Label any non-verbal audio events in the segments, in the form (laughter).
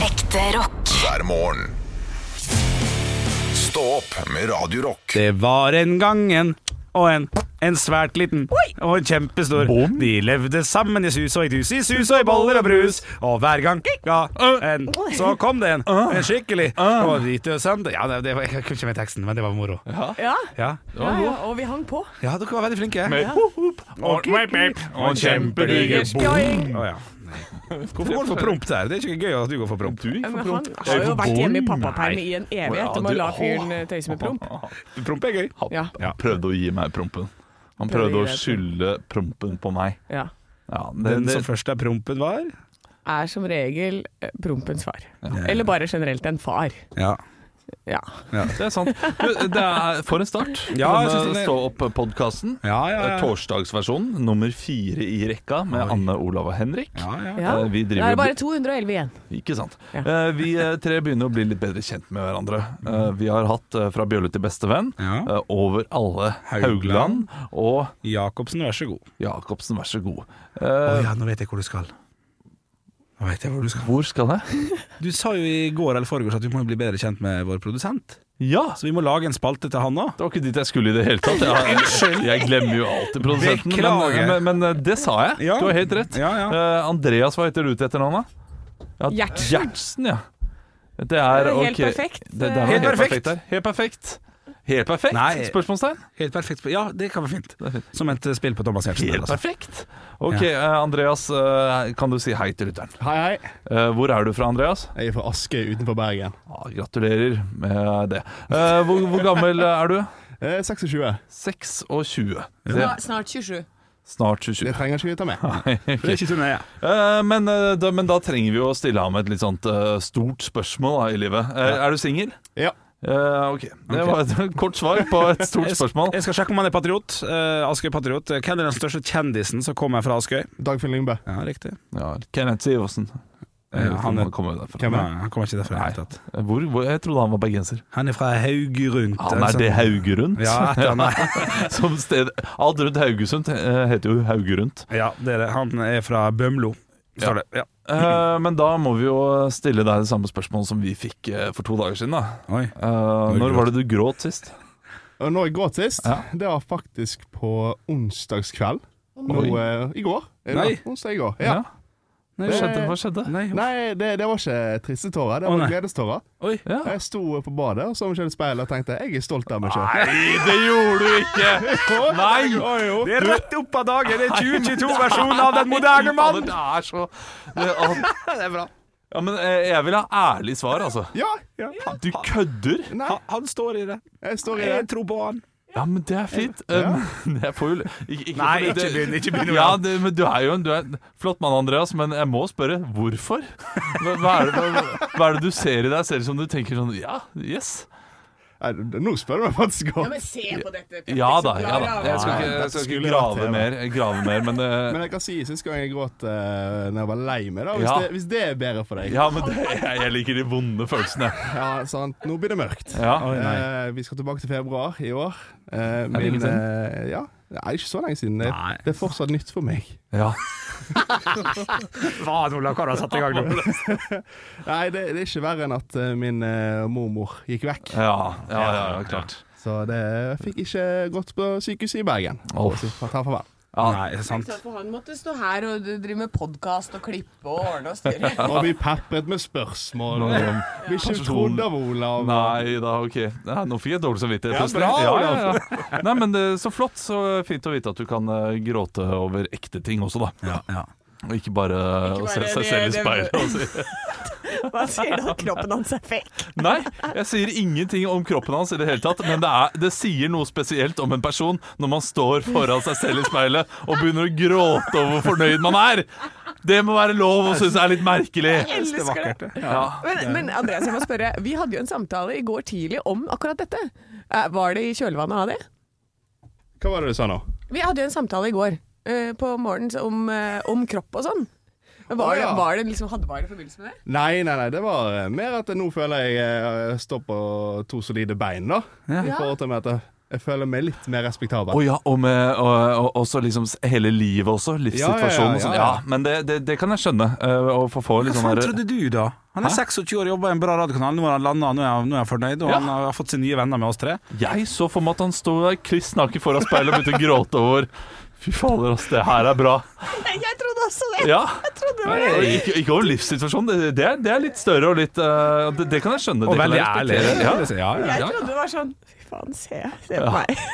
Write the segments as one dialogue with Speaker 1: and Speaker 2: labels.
Speaker 1: Ekte rock.
Speaker 2: hver morgen. Stå opp med Radio Rock.
Speaker 3: Det var en gang en og en. En svært liten og en kjempestor.
Speaker 4: Bom.
Speaker 3: De levde sammen i sus og i dus, i sus og i boller og brus. Og hver gang ga en, så kom det en. En skikkelig. Og hvite og søndag Ja, det, det var, jeg kunne ikke med teksten, men det var moro.
Speaker 5: Ja,
Speaker 3: Ja,
Speaker 5: ja, ja, og vi hang på.
Speaker 3: ja dere var veldig flinke.
Speaker 4: Med hop, hop, og kvikk, kvikk, og kjempedigre bom.
Speaker 5: Spjoing.
Speaker 3: Å, ja. Hvorfor går du for prompt der? Det er ikke gøy at du går for prompt.
Speaker 4: Du gikk
Speaker 5: Men
Speaker 4: for
Speaker 5: han
Speaker 4: prompt.
Speaker 5: har jo vært hjemme i pappaperm
Speaker 3: Nei.
Speaker 5: i en evighet og må la fyren eh, tøyse med promp.
Speaker 4: Ah,
Speaker 3: Prompt er gøy.
Speaker 5: Ja.
Speaker 4: Han prøvde å gi meg prompen. Han
Speaker 5: Prøvde å gi
Speaker 4: prøvde å
Speaker 5: deg
Speaker 4: skylde prompen på meg.
Speaker 5: Ja.
Speaker 4: Ja,
Speaker 3: Den
Speaker 4: det,
Speaker 3: som
Speaker 4: det,
Speaker 3: først er prompen, var
Speaker 5: Er som regel eh, prompens far. Eller bare generelt en far.
Speaker 3: Ja.
Speaker 5: Ja.
Speaker 4: det er sant. Men Det er for en start.
Speaker 3: Ja, jeg synes
Speaker 4: Denne
Speaker 3: det-
Speaker 4: Stå opp-podkasten.
Speaker 3: Ja, ja, ja.
Speaker 4: Eh, Torsdagsversjonen, nummer fire i rekka, med Anne, Olav og Henrik.
Speaker 3: Ja, ja.
Speaker 5: ja.
Speaker 4: Eh, vi driver-
Speaker 5: Da er det bare 211 igjen.
Speaker 4: Ikke sant.
Speaker 5: Ja.
Speaker 4: Eh, vi eh, tre begynner å bli litt bedre kjent med hverandre. Eh, vi har hatt eh, Fra bjølle til bestevenn
Speaker 3: Mm. Ja.
Speaker 4: eh, over alle Haugland,
Speaker 3: Haugland.
Speaker 4: og
Speaker 3: Jacobsen, vær så god.
Speaker 4: Jacobsen, vær så god. Eh,
Speaker 3: Å ja, nå vet jeg hvor du skal. Nå vet jeg hvor du skal.
Speaker 4: Hvor skal jeg?
Speaker 3: Du sa jo i går eller foregårs at vi må bli bedre kjent med vår produsent.
Speaker 4: Ja!
Speaker 3: Så vi må lage en spalte til han òg.
Speaker 4: Det var ikke dit jeg skulle i det hele tatt. Jeg, jeg glemmer jo alltid produsenten.
Speaker 3: Beklager.
Speaker 4: Men, men, men det sa jeg.
Speaker 3: Ja.
Speaker 4: Du har helt rett.
Speaker 3: Ja,
Speaker 4: Eh, Andreas, hva heter du til etternavn, da? Ja,
Speaker 5: Gjertsen.
Speaker 4: Gjertsen, ja. Det er,
Speaker 5: Det er helt
Speaker 4: ok.
Speaker 5: perfekt.
Speaker 4: Det, det er noe
Speaker 3: Helt
Speaker 4: helt
Speaker 3: perfekt.
Speaker 4: perfekt. der. Helt perfekt. Helt perfekt?
Speaker 3: Nei.
Speaker 4: Spørsmålstegn?
Speaker 3: Helt perfekt. Ja, det kan være fint.
Speaker 4: er fint.
Speaker 3: Som et eh, spill på Thomas Giertsen.
Speaker 4: Helt
Speaker 3: altså.
Speaker 4: perfekt. Ok, eh, Andreas, eh, kan du si hei til lytteren?
Speaker 6: Hei, hei.
Speaker 4: Eh, hvor er du fra, Andreas?
Speaker 6: Jeg er fra Askøy utenfor Bergen.
Speaker 4: Ah, gratulerer med det. Eh, hvor, hvor gammel er du?
Speaker 6: Eh, 26.
Speaker 4: 26.
Speaker 5: Snart, snart 27.
Speaker 4: Snart 27.
Speaker 6: Det trenger ikke vi ta med.
Speaker 4: (laughs)
Speaker 3: For det er ikke så nøye.
Speaker 4: Eh, men, eh, da, men da trenger vi jo å stille ham et litt sånt eh, stort spørsmål da, i livet. Eh, Er du singel?
Speaker 6: Ja.
Speaker 4: Eh, ok. Det var et (laughs) kort svar på et stort spørsmål.
Speaker 3: Jeg skal sjekke om han er patriot. Eh, Askøy patriot. Eh, Hvem er den største kjendisen som kommer fra Askøy?
Speaker 6: Dagfinn Lyngbø.
Speaker 3: Ja, riktig.
Speaker 4: Ja, Kenneth Eh, Sivertsen.
Speaker 3: Ja, han er-
Speaker 4: han kommer jo derfra. Eh,
Speaker 6: Hvem
Speaker 3: Nei,
Speaker 6: er
Speaker 3: han kommer ikke derfra i det hele tatt.
Speaker 4: Hvor, hvor, jeg trodde han var bergenser.
Speaker 3: Han er fra Haugerund. altså.
Speaker 4: Han er det Haugerund?
Speaker 3: sånn- Ja, etter han er.
Speaker 4: (laughs) Som sted Alt rundt Haugesund eh, heter jo Haugerund.
Speaker 3: ja, det er det. Han er fra Bømlo, står det. Ja.
Speaker 4: Eh, men da må vi jo stille deg det samme spørsmålet som vi fikk eh, for to dager siden. da
Speaker 3: Oi.
Speaker 4: Eh, Når var det du gråt sist?
Speaker 6: Og når jeg gråt sist,
Speaker 4: Ja.
Speaker 6: det var faktisk på onsdagskveld. Nå,
Speaker 4: Oi.
Speaker 6: eh, I går. Er det
Speaker 3: Nei.
Speaker 6: da? Onsdag i går.
Speaker 4: Ja.
Speaker 6: Ja.
Speaker 4: Hva skjedde? Hva skjedde?
Speaker 3: Nei,
Speaker 6: Nei, det, det var ikke triste tårer, det
Speaker 3: Å,
Speaker 6: var
Speaker 3: nei.
Speaker 6: gledestårer.
Speaker 3: oi.
Speaker 4: Ja.
Speaker 6: Jeg sto på badet og så meg selv i speilet og tenkte jeg er stolt av meg sjøl.
Speaker 4: Nei, det gjorde du ikke! Nei!
Speaker 3: Det er rett opp av dagen! Det er 2022-versjonen av Den moderne mann!
Speaker 4: Det er så (laughs) Det er, bra. Ja, men eh, jeg vil ha ærlig svar, altså.
Speaker 6: Ja!
Speaker 4: Du kødder?
Speaker 6: Nei,
Speaker 3: Han, han står i det.
Speaker 6: jeg står i det.
Speaker 3: Jeg tror på han.
Speaker 4: Ja, men det er fint. Um, (laughs) jeg får jo ikke, ikke
Speaker 3: Nei,
Speaker 4: fordi det-
Speaker 3: ikke begynn, ikke begynn,
Speaker 4: Ja, det, men du er jo en, du er en flott mann, Andreas, men jeg må spørre hvorfor? Hva, hva, er det, hva, hva er det du ser i deg selv som du tenker sånn Ja, yes.
Speaker 6: Nei, Nå spør du meg faktisk godt.
Speaker 5: men se på dette.
Speaker 4: Ja da. ja da Jeg skal ikke, jeg skal
Speaker 6: Skulle
Speaker 4: ikke
Speaker 6: vært
Speaker 4: grave
Speaker 6: TV.
Speaker 4: mer, grave mer men, eh, (laughs)
Speaker 6: Men jeg kan si sist gang jeg gråt uh, når jeg var lei meg, da. Hvis,
Speaker 4: Ja.
Speaker 6: det, hvis det er bedre for deg.
Speaker 4: ja, men det, jeg, jeg liker de vonde følelsene.
Speaker 6: Ja, sant. Nå blir det mørkt.
Speaker 4: Ja.
Speaker 6: Eh, vi skal tilbake til februar i år. Eh,
Speaker 4: det
Speaker 6: men
Speaker 4: lenge
Speaker 6: eh, ja, det er ikke så lenge siden. Det,
Speaker 3: Nei.
Speaker 6: det er fortsatt nytt for meg.
Speaker 4: ja.
Speaker 3: Faen, Olav, hva har du satt i gang nå?
Speaker 6: Nei, det, det er ikke verre enn at eh, min eh, mormor gikk vekk.
Speaker 4: Ja, ja, ja, ja klart.
Speaker 6: Så det jeg fikk ikke gått på sykehuset i Bergen.
Speaker 4: Åh.
Speaker 6: Så jeg får Ta farvel.
Speaker 3: Nei, sant.
Speaker 5: For han måtte stå her og drive med podkast og klippe og ordne og styre.
Speaker 6: (laughs) Og vi pepret med spørsmål.
Speaker 4: Nå-
Speaker 6: og Vi ikke trodd av Olav.
Speaker 4: Nei da, ok. Ja, nå fikk jeg dårlig samvittighet.
Speaker 6: Ja,
Speaker 4: plutselig.
Speaker 6: bra,
Speaker 4: ja, ja, ja. Nei, men eh, Så flott. Så fint å vite at du kan eh, gråte over ekte ting også, da.
Speaker 3: Ja, ja.
Speaker 4: Og ikke bare,
Speaker 5: Ikke
Speaker 4: å
Speaker 5: bare
Speaker 4: se seg
Speaker 5: det-
Speaker 4: selv i
Speaker 5: det-
Speaker 4: speilet. og si-
Speaker 5: Hva sier du at kroppen hans er fake?
Speaker 4: Nei, jeg sier ingenting om kroppen hans i det hele tatt, men det, er, det sier noe spesielt om en person når man står foran seg selv i speilet og begynner å gråte over hvor fornøyd man er. Det må være lov å synes er litt merkelig.
Speaker 5: Elsker det.
Speaker 4: Ja.
Speaker 5: Men, men Andreas, jeg må spørre. Vi hadde jo en samtale i går tidlig om akkurat dette. Eh, Var det i kjølvannet av det?
Speaker 6: Hva var det du sa nå?
Speaker 5: Vi hadde jo en samtale i går eh, på morgenen om, eh, om kropp og sånn. Men Var,
Speaker 6: Å, ja.
Speaker 5: det, var det liksom hadde, var det i forbindelse med det?
Speaker 6: Nei, nei, nei, det var eh, mer at jeg nå føler jeg eh, står på to solide bein, da. I
Speaker 5: Ja.
Speaker 6: forhold til meg at jeg Jeg føler meg litt mer respektabel.
Speaker 4: Å ja, og med og, og, også liksom s- hele livet også. Livssituasjonen.
Speaker 6: Ja, ja, ja,
Speaker 4: og sånn.
Speaker 6: ja.
Speaker 4: ja, Men det, det, det kan jeg skjønne. eh, Å få få litt
Speaker 3: Hva
Speaker 4: sånn
Speaker 3: faen
Speaker 4: der-
Speaker 3: trodde du, da? Han er 26 år, jobber i en bra radiokanal. Nå har han landet, nå er han, nå er han fornøyd, og
Speaker 4: Ja.
Speaker 3: han har fått sine nye venner med oss tre.
Speaker 4: Jeg så for meg at han sto der kliss naken foran speilet og begynte å gråte over Fy fader, ass, det her er bra.
Speaker 5: Jeg trodde også det!
Speaker 4: Ja.
Speaker 5: trodde
Speaker 4: Og Ikke, ikke over livssituasjonen. Det, det, er, det er litt større og litt eh, det, det kan jeg skjønne.
Speaker 3: Og
Speaker 4: det kan
Speaker 3: veldig
Speaker 4: jeg
Speaker 3: ærlig.
Speaker 4: respektere.
Speaker 3: Ja, (laughs) ja, ja.
Speaker 4: Jeg
Speaker 5: trodde det var sånn Fy faen, se, se
Speaker 4: Ja.
Speaker 5: meg.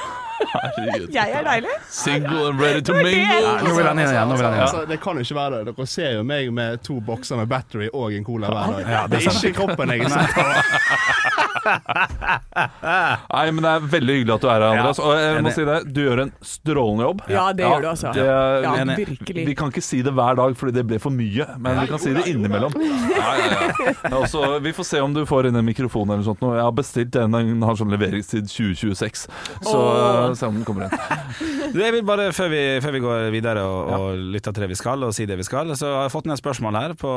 Speaker 4: Herregud.
Speaker 5: deilig.
Speaker 4: Single and ready to mingle.
Speaker 5: det.
Speaker 3: Nå vil han inn igjen. Nå vil han inn.
Speaker 6: Altså, det kan jo ikke være det. Dere ser jo meg med to bokser med battery og en cola hver dag.
Speaker 3: Ja, det
Speaker 6: det
Speaker 3: er
Speaker 6: er ikke kroppen jeg er sett av.
Speaker 4: Nei, men det er veldig hyggelig at du er her, Andreas. Og jeg må
Speaker 3: enig.
Speaker 4: si det, du gjør en strålende jobb.
Speaker 5: Ja, det
Speaker 4: Ja,
Speaker 5: gjør du altså.
Speaker 4: det er-
Speaker 5: ja,
Speaker 3: enig.
Speaker 5: virkelig.
Speaker 4: Vi kan ikke si det hver dag fordi det ble for mye, men vi kan si det innimellom. Ja, (laughs) ja, ja. Ja, og så, vi får se om du får inn en mikrofon eller noe sånt. nå. Jeg har bestilt den, den har sånn leveringstid 2026. Så eh,
Speaker 5: Åh.
Speaker 4: se om den kommer inn.
Speaker 3: Du, jeg vil bare, før vi, før vi går videre og, og lytter til det vi skal, og sier det vi skal, så har jeg fått ned et spørsmål her på,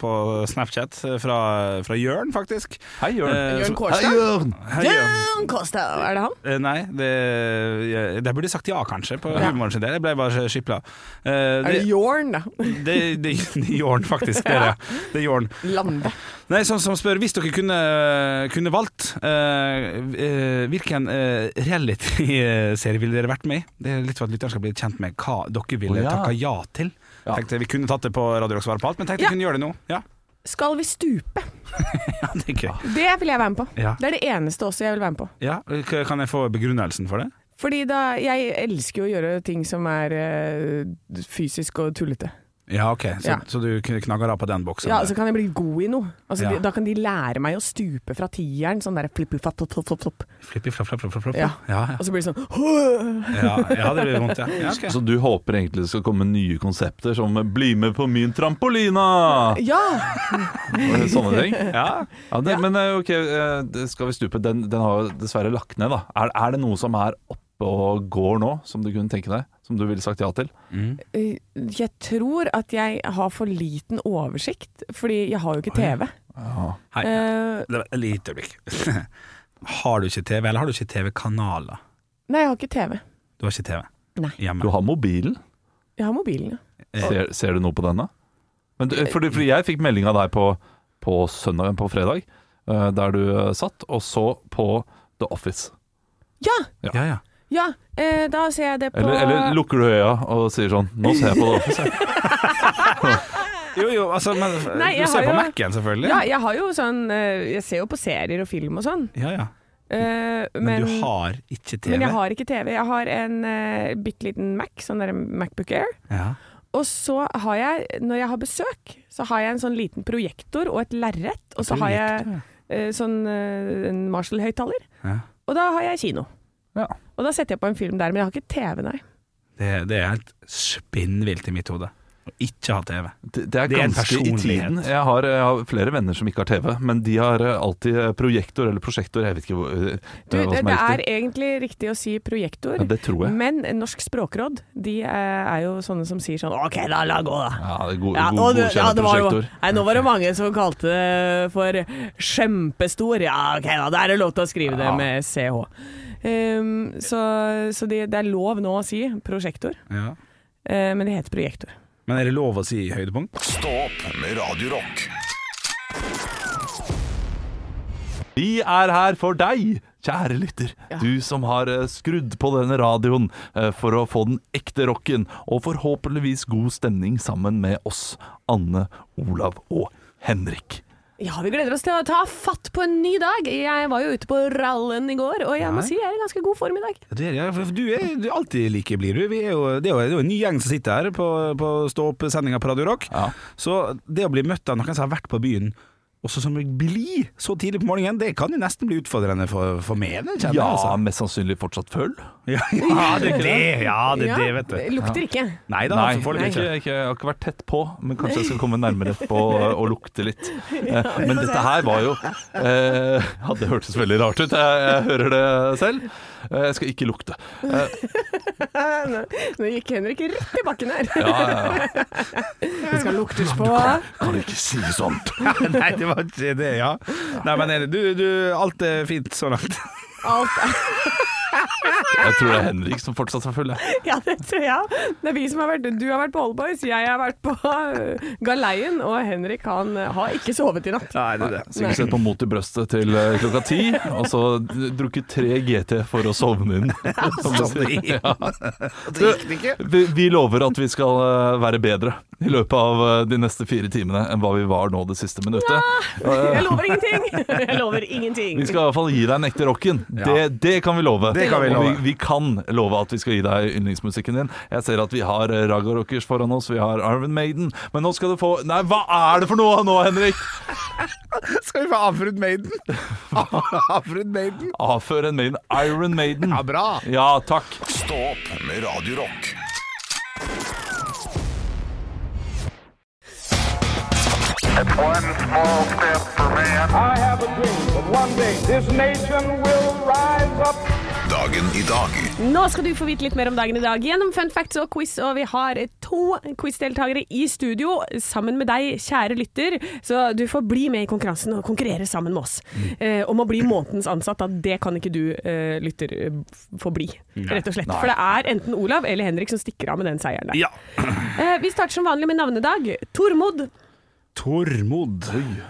Speaker 3: på Snapchat fra, fra Jørn, faktisk.
Speaker 4: Hei,
Speaker 3: Eh,
Speaker 5: Jørn
Speaker 4: Jørn. Hei,
Speaker 5: Kårstad?
Speaker 4: Jørn!
Speaker 3: Hei, Jørn.
Speaker 5: Jørn Kårstad, er det han?
Speaker 3: Eh, Nei, det, jeg, det burde jeg sagt ja, kanskje, på
Speaker 5: Ja.
Speaker 3: humoren sin del. Jeg ble bare skipla. Eh,
Speaker 5: Er det
Speaker 3: det,
Speaker 5: Jorn, da?
Speaker 3: det, det, det er Jørn, faktisk. Det er det. Det er Jørn.
Speaker 5: Lande.
Speaker 3: Nei, sånn som spør Hvis dere kunne, kunne valgt eh, eh, Hvilken eh, reality-serie ville dere vært med i? Det er litt for at lytteren skal bli kjent med hva dere ville
Speaker 4: Å, ja.
Speaker 3: takka ja til.
Speaker 4: Ja.
Speaker 3: Tenkte Vi kunne tatt det på Radio Rock Svar på alt, men tenkte
Speaker 5: Ja.
Speaker 3: vi kunne gjøre det nå. Ja, (laughs)
Speaker 5: Skal vi stupe?
Speaker 3: ja det er gøy.
Speaker 5: Det vil jeg være med på.
Speaker 3: Ja.
Speaker 5: Det er det eneste også jeg vil være med på.
Speaker 3: Ja. k- Kan jeg få begrunnelsen for det?
Speaker 5: Fordi da, jeg elsker jo å gjøre ting som er eh, fysisk og tullete.
Speaker 3: Ja, OK. Så,
Speaker 5: Ja.
Speaker 3: så du kn- knagger av på den boksen?
Speaker 5: Ja, Så kan jeg bli god i noe. Altså,
Speaker 3: Ja.
Speaker 5: de, da kan de lære meg å stupe fra tieren, sånn der flipp, flapp, flopp, flopp, flopp, flopp.
Speaker 3: Flippi, flapp, flapp, flapp, flapp, flapp.
Speaker 5: Ja.
Speaker 3: Ja,
Speaker 5: Og
Speaker 3: ja.
Speaker 5: så blir det sånn «Åh!»
Speaker 3: Ja, ja, det blir vondt, ja. ja ok.
Speaker 4: Så du håper egentlig det skal komme nye konsepter som 'Bli med på min trampolina'
Speaker 5: Ja!
Speaker 4: og sånne ting?
Speaker 3: Ja.
Speaker 4: Ja, det, Men eh, ok, eh, det Skal vi stupe? Den, den har jo dessverre lagt ned, da. Er, er det noe som er oppe og går nå, som du kunne tenke deg? Som du ville sagt ja til?
Speaker 5: Eh, Jeg tror at jeg har for liten oversikt, fordi jeg har jo ikke TV.
Speaker 3: Hei.
Speaker 5: Eh,
Speaker 3: Det var Et lite øyeblikk. (laughs) Har du ikke TV, eller har du ikke TV-kanaler?
Speaker 5: nei, jeg har ikke TV.
Speaker 3: Du har ikke TV
Speaker 5: Nei.
Speaker 4: Du
Speaker 3: hjemme?
Speaker 4: har mobilen.
Speaker 5: Jeg har mobilen. ja.
Speaker 4: Ser, ser du noe på den, da? Men du, fordi, fordi jeg fikk melding av deg på, på søndagen, på fredag, eh, der du eh, satt og så på The Office.
Speaker 5: Ja!
Speaker 3: Ja, ja.
Speaker 5: Ja! eh, da ser jeg det på
Speaker 4: Eller, eller lukker du øya og sier sånn 'Nå ser jeg på The Office'.
Speaker 5: (laughs)
Speaker 4: jeg».
Speaker 3: Jo, jo, altså, men
Speaker 5: Nei,
Speaker 3: du
Speaker 5: jeg
Speaker 3: ser
Speaker 5: har
Speaker 3: på
Speaker 5: jo-
Speaker 3: Mac-en, selvfølgelig.
Speaker 5: Ja, jeg har jo sånn eh, Jeg ser jo på serier og film og sånn.
Speaker 3: Ja, ja.
Speaker 5: eh,
Speaker 3: Men, du har ikke TV?
Speaker 5: Men jeg har ikke TV. Jeg har en uh, bitte liten Mac, sånn der Macbook Air.
Speaker 3: ja.
Speaker 5: Og så har jeg, når jeg har besøk, så har jeg en sånn liten projektor og et lerret. Og så har jeg eh, sånn eh, en Marshall-høyttaler.
Speaker 3: Ja.
Speaker 5: Og da har jeg kino.
Speaker 4: Ja.
Speaker 5: Og da setter jeg på en film der, men jeg har ikke TV, nei.
Speaker 3: Det, det er helt spinnvilt i mitt hode å ikke ha TV.
Speaker 4: Det, det er
Speaker 3: Det er en
Speaker 4: ganske i tiden.
Speaker 3: personlighet.
Speaker 4: Jeg har, jeg har flere venner som ikke har TV, men de har eh, alltid eh, projektor eller prosjektor. Jeg vet ikke hvor, eh,
Speaker 5: Du,
Speaker 4: hva
Speaker 5: det,
Speaker 4: som
Speaker 5: det
Speaker 4: er
Speaker 5: er
Speaker 4: riktig.
Speaker 5: egentlig riktig å si projektor,
Speaker 4: Ja, det tror jeg.
Speaker 5: men Norsk språkråd de eh, er jo sånne som sier sånn OK, da la gå, da.
Speaker 4: Ja, det er god,
Speaker 5: Ja,
Speaker 4: god,
Speaker 5: nå- ja,
Speaker 4: godkjent
Speaker 5: det var jo,
Speaker 4: prosjektor.
Speaker 5: nei, nå var det mange som kalte det for kjempestor. Ja, ok, da da er det lov til å skrive det
Speaker 4: Ja.
Speaker 5: med CH. Um, så så det, det er lov nå å si prosjektor,
Speaker 3: Ja.
Speaker 5: eh, men det heter projektor.
Speaker 3: Men er det lov å si høydepunkt?
Speaker 2: Stå opp med Radio Rock.
Speaker 4: Vi er her for deg, kjære lytter. Du som har eh, skrudd på denne radioen eh, for å få den ekte rocken, og forhåpentligvis god stemning sammen med oss, Anne, Olav og Henrik.
Speaker 5: Ja, vi gleder oss til å ta fatt på en ny dag. Jeg var jo ute på rallen i går, og jeg må si jeg er i ganske god form i dag.
Speaker 3: Du er, ja, for du er du er alltid like blid, du. Vi er jo, det, er jo, det er jo en ny gjeng som sitter her på, på Stå opp-sendinga på Radio Rock.
Speaker 4: Ja.
Speaker 3: Så det å bli møtt av noen som har vært på byen, også som blir blid så tidlig på morgenen, det kan jo nesten bli utfordrende for, for meg. det kjenner jeg,
Speaker 4: Ja,
Speaker 3: altså.
Speaker 4: mest sannsynlig fortsatt føl.
Speaker 3: Ja, det er det, ja, det, er det, vet du.
Speaker 5: Lukter ikke.
Speaker 3: Nei da,
Speaker 4: Nei,
Speaker 3: altså, foreløpig
Speaker 4: ikke,
Speaker 3: ikke.
Speaker 4: ikke, jeg har ikke vært tett på, men kanskje jeg skal komme nærmere på eh, og lukte litt. Eh, Men dette her var jo eh, (laughs) Ja, det hørtes veldig rart ut. Jeg, jeg hører det selv. Eh, Jeg skal ikke lukte. Eh,
Speaker 5: Nå, nå gikk Henrik rett i bakken her.
Speaker 4: Ja, ja, ja.
Speaker 5: Det skal luktes på.
Speaker 4: (laughs) Kan du ikke si sånn. sånt?
Speaker 3: (laughs) Nei, det var ikke det, eh, ja. Nei, men er det- du, du, alt er fint så langt.
Speaker 5: Alt er
Speaker 4: Jeg tror det er Henrik som fortsatt er full. jeg.
Speaker 5: (laughs) Ja, det tror jeg. Det er vi som har vært Du har vært på Oldboys, jeg har vært på øh, Galeien, og Henrik han øh, har ikke sovet i natt.
Speaker 6: Nei, det er det.
Speaker 4: Sikkert sett på Mot i brøstet til eh, klokka ti, og så d- drukket tre GT for å sovne
Speaker 3: (laughs)
Speaker 4: inn. som det
Speaker 3: Sånn,
Speaker 4: sier. Ja.
Speaker 6: Det gikk ikke.
Speaker 4: Vi, vi lover at vi skal eh, være bedre i løpet av eh, de neste fire timene enn hva vi var nå det siste minuttet.
Speaker 5: (laughs) Jeg lover ingenting! (laughs) Jeg lover ingenting.
Speaker 4: Vi skal i hvert fall gi deg en ekte rocken. Det, det kan vi love.
Speaker 3: Det kan vi
Speaker 4: Og
Speaker 3: love.
Speaker 4: Vi, vi kan love at vi skal gi deg yndlingsmusikken din. Jeg ser at vi har eh, Raga Rockers foran oss, vi har Arven Maiden. Men nå skal du få Nei, hva er det for noe nå, Henrik?
Speaker 6: Skal vi få avfrudd Maiden?
Speaker 3: (laughs)
Speaker 6: Avfrudd Maiden?
Speaker 4: Avfør en Maiden. Iron Maiden.
Speaker 6: Ja, bra.
Speaker 4: Ja, takk.
Speaker 2: Stå opp med Radio Rock.
Speaker 1: One small step for man.
Speaker 7: I have a dream that one day this nation will rise up.
Speaker 2: Dagen i dag
Speaker 5: Nå skal du få vite litt mer om dagen i dag gjennom fun facts og quiz, og vi har to quizdeltakere i studio sammen med deg, kjære lytter, så du får bli med i konkurransen og konkurrere sammen med oss
Speaker 4: Mm.
Speaker 5: eh, om å bli månedens ansatt. Da. Det kan ikke du, eh, lytter, eh, få bli, rett og slett. For det er enten Olav eller Henrik som stikker av med den seieren der.
Speaker 3: Ja.
Speaker 5: Eh, vi starter som vanlig med navnedag. Tormod.
Speaker 3: Tormod.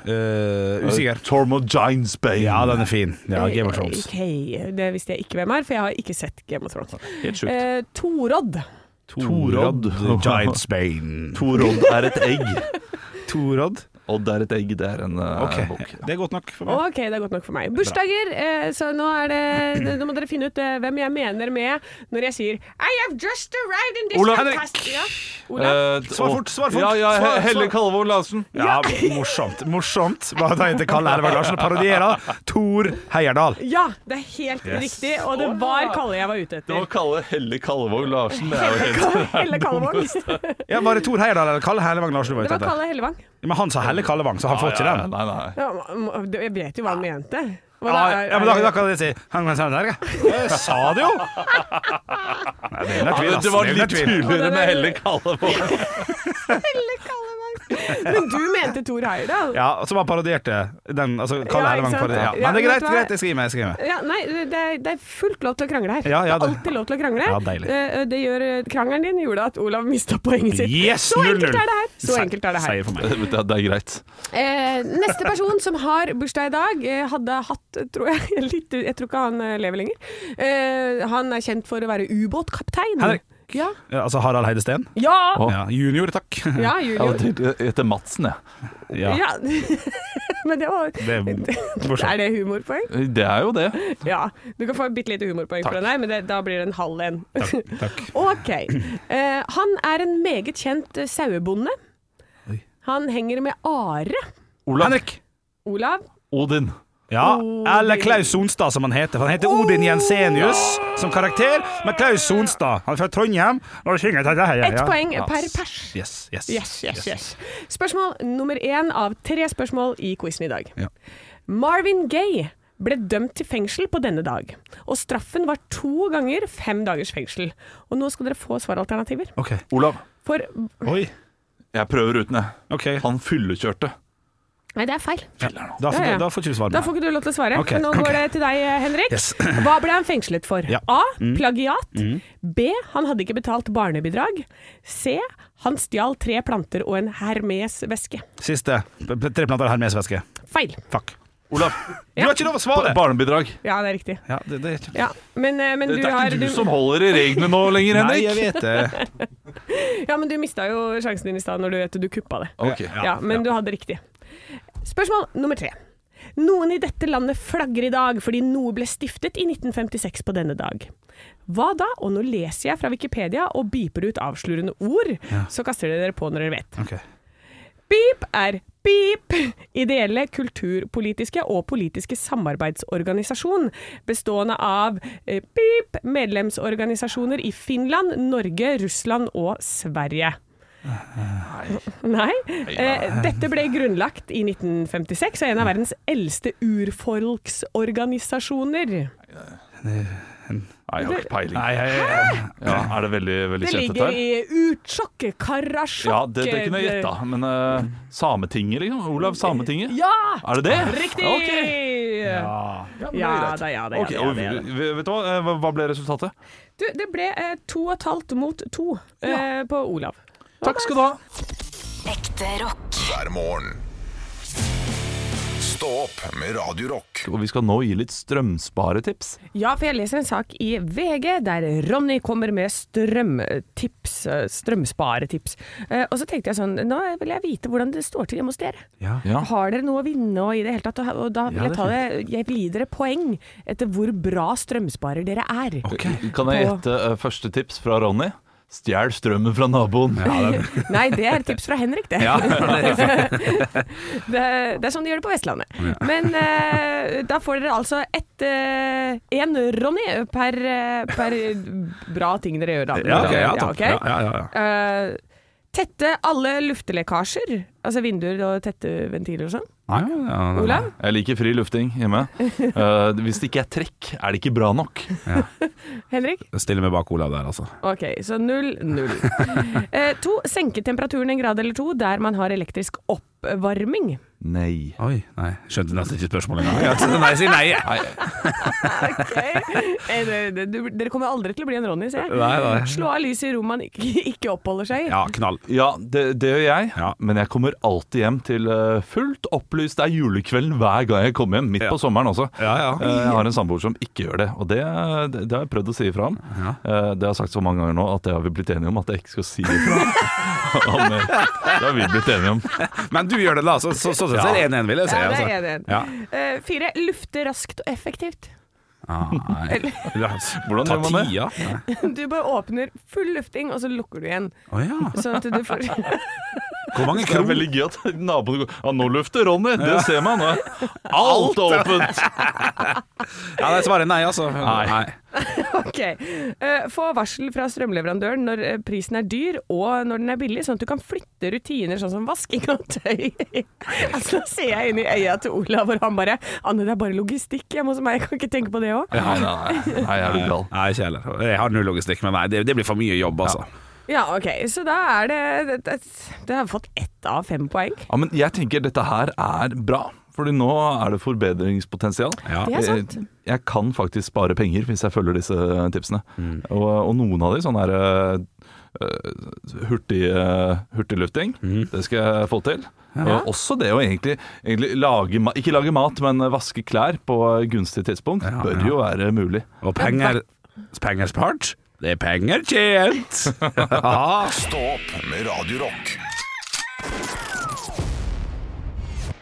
Speaker 3: Eh, usikker.
Speaker 4: Tormo Gines Bay.
Speaker 3: Ja, den er fin. Ja, Game of Thrones.
Speaker 5: Eh, Ok, det visste jeg ikke hvem er, for jeg har ikke sett Game of Thrones.
Speaker 4: Helt sjukt.
Speaker 5: Eh, Torodd.
Speaker 4: Torodd. (laughs)
Speaker 3: Gidesbane.
Speaker 4: Torodd er et egg.
Speaker 3: Torodd.
Speaker 4: Odd er et egg, det er en eh,
Speaker 3: Ok,
Speaker 4: bok.
Speaker 3: det er godt nok for meg.
Speaker 5: Ok, det er godt nok for meg. Bursdager, eh, så nå, er det, det- nå må dere finne ut eh, hvem jeg mener med når jeg sier I have just arrived in this
Speaker 4: Olav
Speaker 5: fantastic-
Speaker 3: Henrik!
Speaker 5: (laughs) Ja. Olav.
Speaker 4: Eh,
Speaker 3: Svar fort, svar fort.
Speaker 4: Ja, ja,
Speaker 3: Svar,
Speaker 4: He- Helle
Speaker 3: svar.
Speaker 4: Kalvor Larsen.
Speaker 3: Ja, morsomt. Morsomt. Hva da heter Kalle Ervang Larsen og parodierer Tor Heierdal.
Speaker 5: Ja, det er helt riktig, og det var Kalle jeg var ute
Speaker 4: Det
Speaker 5: etter.
Speaker 4: å kalle Helle Kalvor Larsen det er jo
Speaker 3: (laughs)
Speaker 4: helt
Speaker 5: Helle Kallevang. Det
Speaker 3: Ja, Var det Tor Heierdal eller Kalle Hellevang Larsen du var ute
Speaker 5: var
Speaker 3: etter?
Speaker 5: Kalle Hellevang.
Speaker 3: Men han sa Helle Kallevang, så han får ikke
Speaker 4: Ja, ja,
Speaker 3: den.
Speaker 4: Nei, nei.
Speaker 5: Ja, m- m- Jeg vet jo hva han mente. Hva
Speaker 3: Ja,
Speaker 5: da-
Speaker 3: ja, men da, da kan jeg si Han kan sende der, ja. Jeg sa det (laughs) jo! Nei, det er under tvil, ass.
Speaker 4: Det var
Speaker 3: Det er under
Speaker 4: litt
Speaker 3: tvil.
Speaker 4: tydeligere med Helle Kalvor.
Speaker 3: (laughs)
Speaker 5: (laughs) Helle Kallevang. Men du mente Tor Heyerdahl.
Speaker 3: Ja, og som han parodierte den. Altså, Kalle
Speaker 5: Ja, ikke
Speaker 3: Ervang
Speaker 5: sant?
Speaker 3: parodierte. Ja.
Speaker 5: Ja,
Speaker 3: Men det er
Speaker 5: vet
Speaker 3: greit,
Speaker 5: du hva?
Speaker 3: greit, jeg skriver meg. Jeg skriver meg.
Speaker 5: Ja, nei, det er, det er fullt lov til å krangle her.
Speaker 3: Ja, ja,
Speaker 5: det er
Speaker 3: det-
Speaker 5: alltid lov til å krangle.
Speaker 3: Ja, deilig.
Speaker 5: Eh, Det gjør eh, krangelen din gjorde at Olav mista poenget sitt.
Speaker 3: Yes,
Speaker 5: Så
Speaker 3: 0-0.
Speaker 5: enkelt er det her. Så
Speaker 3: Se-
Speaker 5: enkelt er det her.
Speaker 3: Seier for meg.
Speaker 4: Det, det, det er greit.
Speaker 5: Eh, neste person som har bursdag i dag, eh, hadde hatt, tror jeg (laughs) litt, Jeg tror ikke han eh, lever lenger. Eh, han er kjent for å være ubåtkaptein.
Speaker 3: Henrik.
Speaker 5: Ja.
Speaker 3: Ja, altså Harald Heidesteen?
Speaker 5: Ja,
Speaker 4: Å.
Speaker 3: Ja, junior, takk. (laughs)
Speaker 5: ja
Speaker 4: Jeg
Speaker 5: junior.
Speaker 4: hadde hett Madsen, jeg.
Speaker 3: Ja,
Speaker 5: Ja. (laughs) Men det var
Speaker 3: det er morsomt.
Speaker 5: Er det humorpoeng?
Speaker 4: Det er jo det.
Speaker 5: Ja. Du kan få et bitte lite humorpoeng for
Speaker 4: Takk.
Speaker 5: den her, men det, da blir det en halv en.
Speaker 3: Takk. takk.
Speaker 5: Ok. Eh, han er en meget kjent eh, sauebonde. Han henger med are.
Speaker 4: Olav.
Speaker 3: Henrik!
Speaker 5: Olav.
Speaker 4: Odin.
Speaker 3: Ja, eller Klaus Sonstad som han heter. For han heter Odin Jensenius som karakter, men Klaus Sonstad Han er fra Trondheim. Og synger dette her, ja,
Speaker 5: Ett
Speaker 3: ja.
Speaker 5: poeng
Speaker 3: Ja.
Speaker 5: per pers.
Speaker 3: Yes, yes.
Speaker 5: Yes, yes, yes. Spørsmål nummer én av tre spørsmål i quizen i dag.
Speaker 3: Ja.
Speaker 5: Marvin Gaye ble dømt til fengsel på denne dag, og straffen var to ganger fem dagers fengsel. Og nå skal dere få svaralternativer.
Speaker 3: OK.
Speaker 4: Olav.
Speaker 5: For
Speaker 3: Oi.
Speaker 4: Jeg prøver uten, jeg.
Speaker 3: OK.
Speaker 4: Han fyllekjørte.
Speaker 5: Nei, det er feil.
Speaker 3: Da får,
Speaker 5: Ja, ja.
Speaker 3: da får ikke du svare.
Speaker 5: Da får ikke du lov til å svare.
Speaker 3: Ok,
Speaker 5: Men nå går
Speaker 3: ok.
Speaker 5: det til deg, eh, Henrik.
Speaker 3: Yes.
Speaker 5: (clears throat) Hva ble han fengslet for?
Speaker 3: Ja.
Speaker 5: A.
Speaker 4: Mm.
Speaker 5: Plagiat. B. Han hadde ikke betalt barnebidrag. C. Han stjal tre planter og en Hermes-veske.
Speaker 3: Siste. P- p- Tre planter hermesvæske.
Speaker 5: Feil.
Speaker 3: Fuck.
Speaker 4: Olav.
Speaker 3: Du har ikke lov å svare!
Speaker 4: Barnebidrag.
Speaker 5: Ja, det er riktig.
Speaker 3: Ja, det, det er ikke
Speaker 5: Ja, men, eh, men
Speaker 4: Det
Speaker 5: du
Speaker 4: er
Speaker 5: har
Speaker 4: ikke du som holder i reglene nå lenger,
Speaker 3: Nei, jeg
Speaker 4: Henrik.
Speaker 3: vet
Speaker 4: (laughs)
Speaker 3: det.
Speaker 5: Ja, men du mista jo sjansen din i stad når du vet du kuppa det.
Speaker 4: Ok.
Speaker 5: Ja, men du hadde riktig. Spørsmål nummer tre. Noen i dette landet flagger i dag fordi noe ble stiftet i 1956 på denne dag. Hva da? Og nå leser jeg fra Wikipedia og biper ut avslørende ord, så kaster dere dere på når dere vet.
Speaker 3: Ok.
Speaker 5: Bip er BIP, ideelle kulturpolitiske og politiske samarbeidsorganisasjon, bestående av eh, BIP, medlemsorganisasjoner i Finland, Norge, Russland og Sverige. Nei. Eh, dette ble grunnlagt i 1956 og er en av verdens eldste urfolksorganisasjoner.
Speaker 4: Nei, jeg har ikke peiling.
Speaker 3: Nei, jeg, jeg,
Speaker 4: Ja, er det veldig, veldig
Speaker 5: Det
Speaker 4: kjent, dette
Speaker 5: ligger
Speaker 4: her?
Speaker 5: i Utsjokk, Karasjokk
Speaker 4: Ja, det, det kunne jeg gjetta. Men eh, Sametinget, liksom? Olav Sametinget?
Speaker 5: Ja!
Speaker 4: Er det det?
Speaker 5: Riktig!
Speaker 4: Ja, ok.
Speaker 5: Ja,
Speaker 4: Ja, men det er
Speaker 5: Ja
Speaker 4: greit.
Speaker 5: da, ja da. ja
Speaker 4: Ok,
Speaker 5: da,
Speaker 4: og
Speaker 5: ja da.
Speaker 4: vi- vi- Vet du hva, Eh, hva- hva ble resultatet?
Speaker 5: Du, det ble eh, to og et halvt mot to eh, på Olav.
Speaker 4: Takk skal du ha.
Speaker 8: Ekte rock.
Speaker 2: hver morgen. Stå opp med Radio Rock.
Speaker 4: Og vi skal nå gi litt strømsparetips.
Speaker 5: Ja, for jeg leser en sak i VG der Ronny kommer med strømtips, eh, strømsparetips. Eh, Og så tenkte jeg sånn, nå vil jeg vite hvordan det står til hjemme hos dere.
Speaker 4: Ja.
Speaker 5: Har dere noe å vinne og i det hele tatt? Og da vil
Speaker 4: Ja,
Speaker 5: jeg
Speaker 4: det
Speaker 5: ta det,
Speaker 4: er
Speaker 5: jeg vil gi dere poeng etter hvor bra strømsparer dere er.
Speaker 4: Kan jeg
Speaker 5: På-
Speaker 4: gjette eh, første tips fra Ronny? Stjel strømmen fra naboen.
Speaker 5: Nei, det er et tips fra Henrik, det.
Speaker 4: Ja,
Speaker 5: (laughs) Det, det er sånn de gjør det på Vestlandet. Men eh, da får dere altså ett én Ronny per, eh, per bra ting dere gjør. Da.
Speaker 3: ja, ok, ja, takk.
Speaker 5: ok?
Speaker 3: ja, ja, ja, ja.
Speaker 5: Eh, tette alle luftelekkasjer, altså vinduer og tette ventiler og sånn.
Speaker 3: Nei, ja, ja, ja.
Speaker 5: Olav?
Speaker 4: Jeg liker fri lufting hjemme. Eh, hvis det ikke er trekk, er det ikke bra nok.
Speaker 5: Henrik?
Speaker 3: Jeg Stiller meg bak Olav der, altså.
Speaker 5: Ok, så null,
Speaker 3: (laughs)
Speaker 5: null. Eh, to, senke temperaturen en grad eller to der man har elektrisk oppvarming.
Speaker 4: Nei.
Speaker 3: Oi, nei. Skjønte nesten ikke spørsmålet engang. Jeg- Nei, jeg sier nei. jeg.
Speaker 5: Ok. Eh, det- det- du- Dere kommer aldri til å bli en Ronny, ser jeg.
Speaker 3: Nei, nei.
Speaker 5: Slå av lyset i rom man ikke, ikke oppholder seg i.
Speaker 3: Ja, knall.
Speaker 4: Ja, det, det gjør jeg,
Speaker 3: Ja.
Speaker 4: men jeg kommer alltid hjem til eh, fullt opplyst. Det er julekvelden hver gang jeg kommer hjem, midt
Speaker 3: Ja.
Speaker 4: på sommeren også.
Speaker 3: Ja, ja.
Speaker 4: Eh, Jeg har en samboer som ikke gjør det, og det, det, det har jeg prøvd å si ifra om. Eh, Det har jeg sagt så mange ganger nå at det har vi blitt enige om at jeg ikke skal si ifra. (laughs) om. det. Det har vi blitt enige om.
Speaker 3: Men du gjør det, da. Så, så, så, så, er det 1-1, vil jeg si.
Speaker 5: Ja, det
Speaker 3: altså.
Speaker 5: er det.
Speaker 3: Ja.
Speaker 5: Eh, fire, lufte raskt og effektivt.
Speaker 3: Ah, nei. Ja,
Speaker 4: Hvordan
Speaker 3: Ta
Speaker 4: gjør man det?
Speaker 3: tida. Nei.
Speaker 5: Du bare åpner full lufting, og så lukker du igjen.
Speaker 3: Å ja.
Speaker 5: Sånn at du får (laughs)
Speaker 3: Hvor mange
Speaker 4: Det er
Speaker 3: krom?
Speaker 4: veldig gøy at naboen går Ja, nå lufter Ronny! Det ser man. nå er Alt (laughs) åpent!
Speaker 3: Ja, det svarer nei, altså.
Speaker 4: Nei.
Speaker 5: Ok. Eh, få varsel fra strømleverandøren når eh, prisen er dyr og når den er billig, sånn at du kan flytte rutiner sånn som vasking og tøy. (laughs) altså, nå ser jeg inn i øya til Olav, og han bare Anne, det er bare logistikk hjemme hos meg, jeg kan ikke tenke på det òg.
Speaker 4: Nei, nei, nei, jeg er litt gal.
Speaker 3: Nei, ikke heller. Jeg har null logistikk, men nei, det, det blir for mye jobb, altså.
Speaker 5: Ja, ok. Så da er det det, det, det har fått ett av fem poeng.
Speaker 4: Ja, men jeg tenker dette her er bra. Fordi nå er det forbedringspotensial.
Speaker 3: Ja.
Speaker 5: Det er sant.
Speaker 4: Jeg, jeg kan faktisk spare penger hvis jeg følger disse tipsene.
Speaker 3: Mm.
Speaker 4: Og, og noen av de sånne her eh, hurtig, eh, hurtiglufting,
Speaker 3: Mm.
Speaker 4: det skal jeg få til. Og også det å egentlig, egentlig lage, ma- ikke lage mat, men vaske klær på gunstig tidspunkt,
Speaker 3: Ja,
Speaker 4: bør
Speaker 3: ja.
Speaker 4: jo være mulig.
Speaker 3: Og penger Penger spart, det er penger tjent! (laughs) Ja.
Speaker 2: Stå opp med Radio Rock.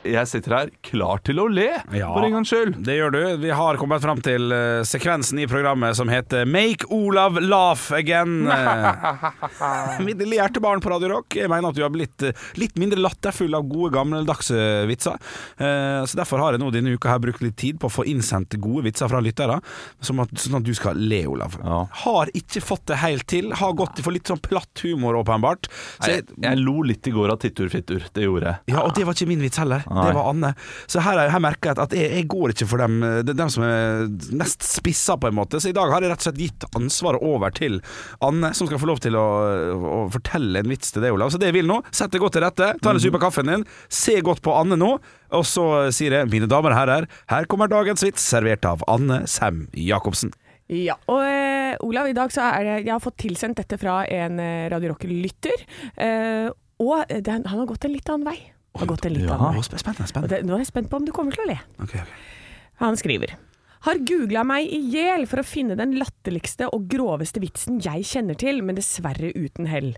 Speaker 4: Jeg sitter her klar til å le,
Speaker 3: Ja.
Speaker 4: for en gangs skyld.
Speaker 3: Det gjør du. Vi har kommet fram til eh, sekvensen i programmet som heter Make Olav laugh again. Eh, Mitt lille hjertebarn på Radio Rock. Jeg mener at du har blitt eh, litt mindre latterfull av gode, gammeldagse vitser. Eh, Så derfor har jeg nå denne uka her brukt litt tid på å få innsendt gode vitser fra lyttere, som at- sånn at du skal le, Olav.
Speaker 4: Ja.
Speaker 3: Har ikke fått det helt til. Har gått for litt sånn platt humor, åpenbart. Så
Speaker 4: Jeg, jeg lo litt i går av tittur-fittur, det gjorde jeg.
Speaker 3: ja, og det var ikke min vits heller.
Speaker 4: Nei.
Speaker 3: Det var Anne. Så her, er- her merker jeg at jeg, jeg går ikke for dem, det er dem som er nest spissa, på en måte. Så i dag har jeg rett og slett gitt ansvaret over til Anne, som skal få lov til å, å fortelle en vits til deg, Olav. Så det jeg vil nå, sett deg godt til rette, ta en sup av kaffen din, se godt på Anne nå, og så sier jeg, mine damer og herrer, her kommer dagens vits, servert av Anne Sem Jacobsen.
Speaker 5: Ja, og eh, Olav, i dag så er det Jeg har fått tilsendt dette fra en eh, Radio Rock-lytter. Eh, og det, han har gått en litt annen vei. Han har gått en litt
Speaker 3: Å,
Speaker 5: annen vei.
Speaker 3: sp- spennende,
Speaker 5: Og
Speaker 3: spennende.
Speaker 5: det, nå er jeg spent på om du kommer til å le.
Speaker 3: Ok, ok.
Speaker 5: Han skriver har googla meg i hjel for å finne den latterligste og groveste vitsen jeg kjenner til, men dessverre uten hell.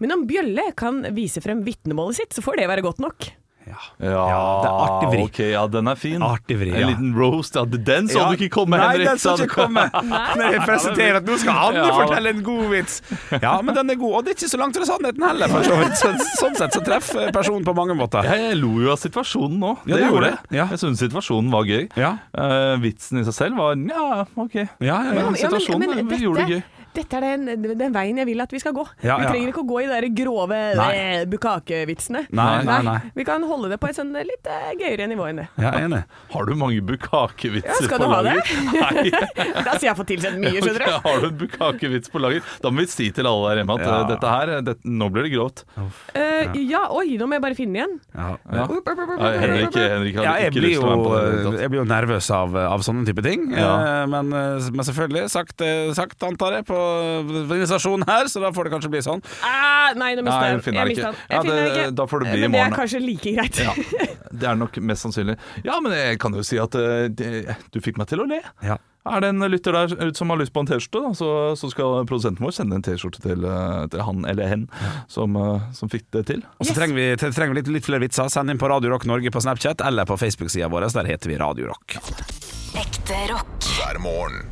Speaker 5: Men om Bjølle kan vise frem vitnemålet sitt, så får det være godt nok.
Speaker 4: Ja,
Speaker 3: det er artig vri.
Speaker 4: ok, ja, den er fin.
Speaker 3: Artig vri,
Speaker 4: en
Speaker 3: ja.
Speaker 4: liten roast. Ja, den så
Speaker 3: Ja.
Speaker 4: du ikke komme,
Speaker 3: Nei,
Speaker 4: Henrik.
Speaker 3: den skal
Speaker 4: sa
Speaker 3: ikke
Speaker 4: du. (laughs)
Speaker 3: komme. Når jeg presenterer at nå skal Anne
Speaker 4: Ja, da.
Speaker 3: fortelle en god vits. Ja, men den er god, og det er ikke så langt fra sannheten heller. For så vidt. Så, sånn sett så treffer personen på mange måter.
Speaker 4: Jeg, jeg lo jo av situasjonen nå.
Speaker 3: Ja, det
Speaker 4: det, gjorde
Speaker 3: gjorde
Speaker 4: jeg.
Speaker 3: det. Ja.
Speaker 4: Jeg syntes situasjonen var gøy.
Speaker 3: Ja.
Speaker 4: Eh, vitsen i seg selv var ja, ok.
Speaker 3: Ja, ja, ja.
Speaker 4: Men situasjonen
Speaker 5: dette-
Speaker 4: gjorde det gøy.
Speaker 5: Dette er den, den veien jeg vil at vi skal gå.
Speaker 3: Ja,
Speaker 5: vi
Speaker 3: ja.
Speaker 5: trenger ikke å gå i de der grove
Speaker 3: Nei.
Speaker 5: eh, bukakevitsene.
Speaker 3: Nei, nei, nei.
Speaker 5: Vi kan holde det på et sånn litt eh, gøyere nivå enn det.
Speaker 3: Jeg er enig.
Speaker 4: Har du mange
Speaker 5: Ja,
Speaker 4: bukakevitser
Speaker 5: skal
Speaker 4: på
Speaker 5: du ha
Speaker 4: lager? (laughs) Nei.
Speaker 5: Da sier (laughs) jeg fått tilsendt
Speaker 4: (laughs)
Speaker 5: mye,
Speaker 4: Ok,
Speaker 5: skjønner du.
Speaker 4: har du en bukakevits på lager? Da må vi si til alle der hjemme at
Speaker 3: Ja.
Speaker 4: eh, dette her, eh, det, nå blir det grovt.
Speaker 5: Eh, ja, oi, nå må jeg bare finne igjen.
Speaker 3: Ja.
Speaker 4: Ja. Nei, Henrik, Henrik hadde
Speaker 3: Ja, jeg
Speaker 4: ikke lyst
Speaker 3: blir,
Speaker 4: til å være
Speaker 3: jo, eh,
Speaker 4: med på det. i det hele tatt.
Speaker 3: jeg blir jo nervøs av, av sånne type ting.
Speaker 4: Ja.
Speaker 3: Eh, Men, eh, men selvfølgelig, sagt, eh, sagt antar jeg, på denne stasjonen her, så da får det kanskje bli sånn.
Speaker 5: Ah, nei, nå
Speaker 4: Nei,
Speaker 5: mista jeg
Speaker 4: jeg finner det
Speaker 5: mistet
Speaker 4: ikke.
Speaker 5: den.
Speaker 4: Ja,
Speaker 5: Jeg finner
Speaker 4: det-
Speaker 5: den ikke.
Speaker 4: da får det bli i
Speaker 5: Men det
Speaker 4: morgen.
Speaker 5: er kanskje like greit.
Speaker 4: Ja, (laughs) det er nok mest sannsynlig. Ja, men jeg kan jo si at eh, det- du fikk meg til å le.
Speaker 3: Ja.
Speaker 4: Er det en lytter der ute som har lyst på en T-skjorte, da, så, så skal produsenten vår sende en T-skjorte til, eh, til han eller hen som, eh, som fikk det til.
Speaker 3: Og så trenger vi, tre- trenger vi litt, litt flere vitser. Send inn på Radio Rock Norge på Snapchat eller på Facebook-sida vår. Der heter vi Radio Rock.
Speaker 8: Ekte rock.
Speaker 2: hver morgen.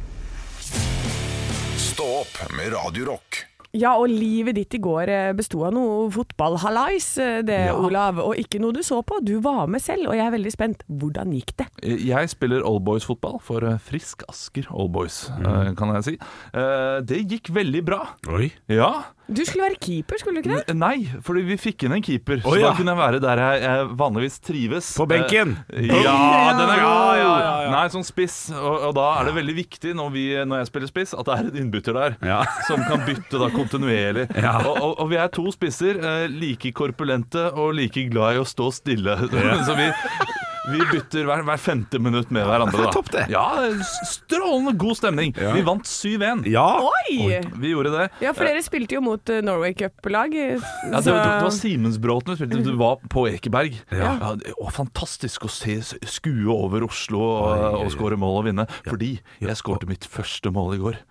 Speaker 2: Stå opp med Radio Rock.
Speaker 5: Ja, og livet ditt i går eh, besto av noe fotballhalais, eh, det, Olav. Og ikke noe du så på. Du var med selv, og jeg er veldig spent. Hvordan gikk det?
Speaker 4: Jeg spiller oldboys-fotball for eh, Frisk Asker Oldboys, eh, kan jeg si. Eh, Det gikk veldig bra.
Speaker 3: Oi.
Speaker 4: Ja.
Speaker 5: Du skulle være keeper, skulle du ikke det?
Speaker 4: N- Nei, fordi vi fikk inn en keeper.
Speaker 3: Å,
Speaker 4: så
Speaker 3: ja.
Speaker 4: da kunne jeg være der jeg, jeg vanligvis trives.
Speaker 3: På benken.
Speaker 4: Eh, ja, den er god! Nei, sånn spiss. Og, og da er det veldig viktig når, vi, når jeg spiller spiss, at det er en innbytter der.
Speaker 3: Ja.
Speaker 4: (laughs) Som kan bytte da kontinuerlig. Og, og, og vi er to spisser, eh, like korpulente og like glad i å stå stille. (laughs) Så vi, vi bytter hver, hver femte minutt med hverandre. Da.
Speaker 3: Topp det.
Speaker 4: Ja, s- Strålende god stemning. Vi vant 7-1.
Speaker 3: Ja.
Speaker 5: Oi!
Speaker 4: Vi gjorde det.
Speaker 5: Ja, for dere spilte jo mot eh, Norway Cup-lag. eh,
Speaker 4: Ja, det, var- det var
Speaker 5: så-
Speaker 4: Simensbråten du spilte. Du var på Ekeberg. Ja. det- å, fantastisk å se skue over Oslo og, og skåre mål og vinne. Fordi jeg skårte mitt første mål i går.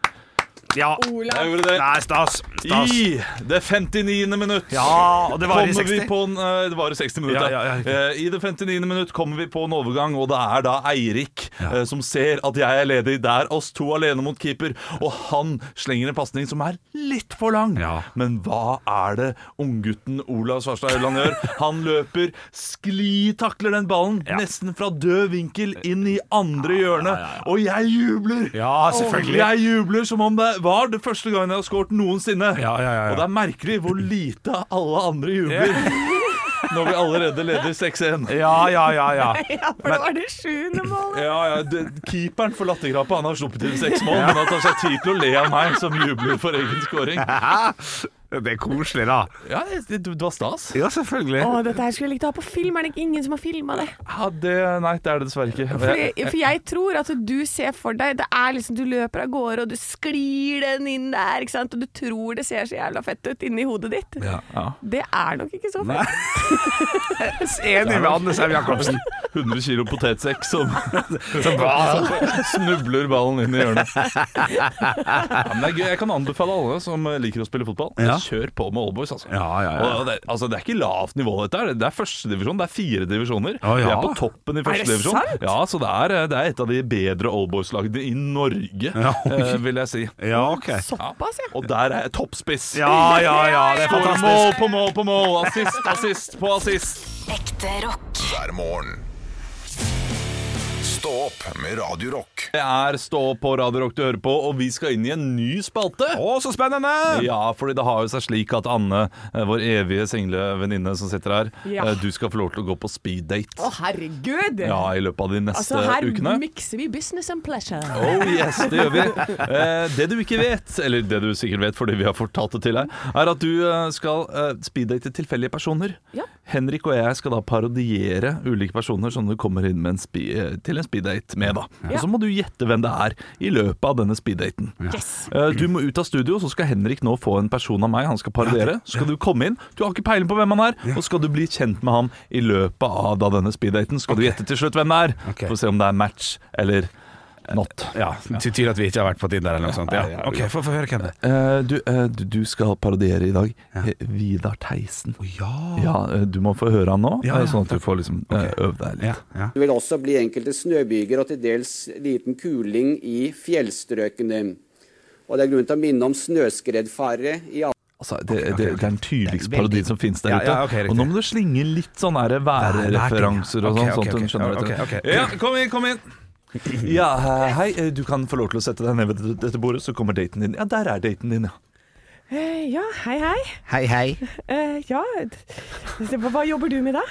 Speaker 3: ja.
Speaker 5: Olav.
Speaker 4: gjorde det.
Speaker 3: Nei, stas. Stas.
Speaker 4: I det 59. minutt
Speaker 3: Ja, og det var i
Speaker 4: kommer vi
Speaker 3: 60.
Speaker 4: på en eh, Det var i 60 minutter.
Speaker 3: Ja, ja, ja, riktig.
Speaker 4: Eh, I det 59. minutt kommer vi på en overgang, og det er da Eirik eh, som ser at jeg er ledig. Det er oss to alene mot keeper, og han slenger en pasning som er litt for lang.
Speaker 3: Ja.
Speaker 4: Men hva er det unggutten Olav Svarstad Aurland gjør? Han løper, sklitakler den ballen nesten fra død vinkel inn i andre hjørne, og jeg jubler!
Speaker 3: Ja, selvfølgelig.
Speaker 4: Jeg jubler som om det var det første gangen jeg har skåret noensinne.
Speaker 3: Ja, ja, ja, ja.
Speaker 4: Og det er merkelig hvor lite alle andre jubler (laughs) når vi allerede leder 6-1.
Speaker 3: Ja, ja, ja, ja.
Speaker 5: (laughs) Ja, for det var det sjuende målet.
Speaker 4: Ja, ja, det, Keeperen for latterkrampa han har sluppet inn seks mål, men han tar seg tid til å le av meg som jubler for egen scoring.
Speaker 3: Det er koselig, da.
Speaker 4: Ja, det, det var stas.
Speaker 3: Ja, selvfølgelig.
Speaker 5: Å, dette her skulle jeg likt å ha på film. Er det ikke ingen som har filma det?
Speaker 4: Ja, det, nei, det er det dessverre ikke. Og jeg-
Speaker 5: Fordi, for jeg tror at du ser for deg Det er liksom du løper av gårde, og du sklir den inn der, ikke sant? Og du tror det ser så jævla fett ut inni hodet ditt.
Speaker 4: ja.
Speaker 5: Det er nok ikke så fett.
Speaker 3: Enig med Anne Sem Jacobsen.
Speaker 4: 100 kilo potetsekk som,
Speaker 3: (laughs)
Speaker 4: som, snubler ballen inn i hjørnet. Ja, men det er gøy. Jeg kan anbefale alle som eh, liker å spille fotball,
Speaker 3: Ja.
Speaker 4: kjør på med Allboys. Altså.
Speaker 3: Ja, ja, ja.
Speaker 4: Og Det, altså, det er ikke lavt nivå, dette. her. Det er førstedivisjon. Det er fire divisjoner.
Speaker 3: Å, ja.
Speaker 4: Vi er på toppen i
Speaker 5: det
Speaker 4: førstedivisjon.
Speaker 5: sant?
Speaker 4: Ja, så det er, eh, det er et av de bedre Allboys-lagene i Norge,
Speaker 3: Ja, oi.
Speaker 4: eh, vil jeg si.
Speaker 3: Ja, ok.
Speaker 5: Såpass, ja.
Speaker 4: Og der er jeg toppspiss.
Speaker 3: Ja, ja, ja, det er
Speaker 4: Skårer
Speaker 3: fantastisk.
Speaker 4: mål på mål på mål! Assist, assist på assist!
Speaker 8: Ekte rock.
Speaker 2: hver morgen. Stå opp med Radio Rock.
Speaker 4: Det er Stå opp på Radio Rock du hører på, og vi skal inn i en ny spalte.
Speaker 3: Å, så spennende!
Speaker 4: Ja, fordi det har jo seg slik at Anne, eh, vår evige singlevenninne som sitter her,
Speaker 5: Ja.
Speaker 4: eh, du skal få lov til å gå på speeddate
Speaker 5: Å, herregud!
Speaker 4: ja, i løpet av de neste
Speaker 5: altså, her
Speaker 4: ukene.
Speaker 5: mikser vi business and pleasure.
Speaker 4: Oh yes, det gjør vi. Eh, det du ikke vet, eller det du sikkert vet fordi vi har fortalt det til deg, er at du eh, skal eh, speeddate tilfeldige personer.
Speaker 5: Ja.
Speaker 4: Henrik og jeg skal da parodiere ulike personer som du kommer inn med en spe eh, til en speeddate med. da. Og så må du gjette hvem det er i løpet av denne speeddaten.
Speaker 5: Yes.
Speaker 4: Eh, Du må ut av studio, så skal Henrik nå få en person av meg han skal parodiere. Så skal du komme inn, du har ikke peiling på hvem han er, og skal du bli kjent med ham i løpet av da denne speeddaten. Skal du gjette til slutt hvem det er,
Speaker 3: Ok.
Speaker 4: for å se om det er match eller Eh, not.
Speaker 3: Ja, det tyder at vi ikke har vært på Tinder eller noe sånt. Ja. Ok, Få få høre hvem det er.
Speaker 4: Eh, du, eh, du, du skal parodiere i dag eh, Vidar Theisen. Ja, eh, du må få høre han nå,
Speaker 3: Ja,
Speaker 4: eh,
Speaker 3: ja,
Speaker 4: sånn at du får liksom eh, øve deg litt.
Speaker 3: Ja, ja.
Speaker 9: Det vil også bli enkelte snøbyger og til dels liten kuling i fjellstrøkene. Og det er grunn til å minne om snøskredfare i
Speaker 4: Altså, det, det, det er den tydeligste
Speaker 3: Det er veldig-
Speaker 4: parodien som finnes
Speaker 3: Ja,
Speaker 4: der ute.
Speaker 3: ja, ok, riktig.
Speaker 4: og nå må du slinge litt sånn her værreferanser og
Speaker 3: Ok,
Speaker 4: sånn,
Speaker 3: ok,
Speaker 4: sånn at hun skjønner
Speaker 3: ok,
Speaker 4: dette.
Speaker 3: ok.
Speaker 4: Ja, kom inn, kom inn!
Speaker 10: Ja, hei, eh, du kan få lov til å sette deg ned ved dette bordet, så kommer daten din. Ja, der er daten din, ja.
Speaker 5: Eh, ja, hei, hei.
Speaker 11: Hei, hei.
Speaker 5: Eh, ja, d- d- hva hva jobber du med da?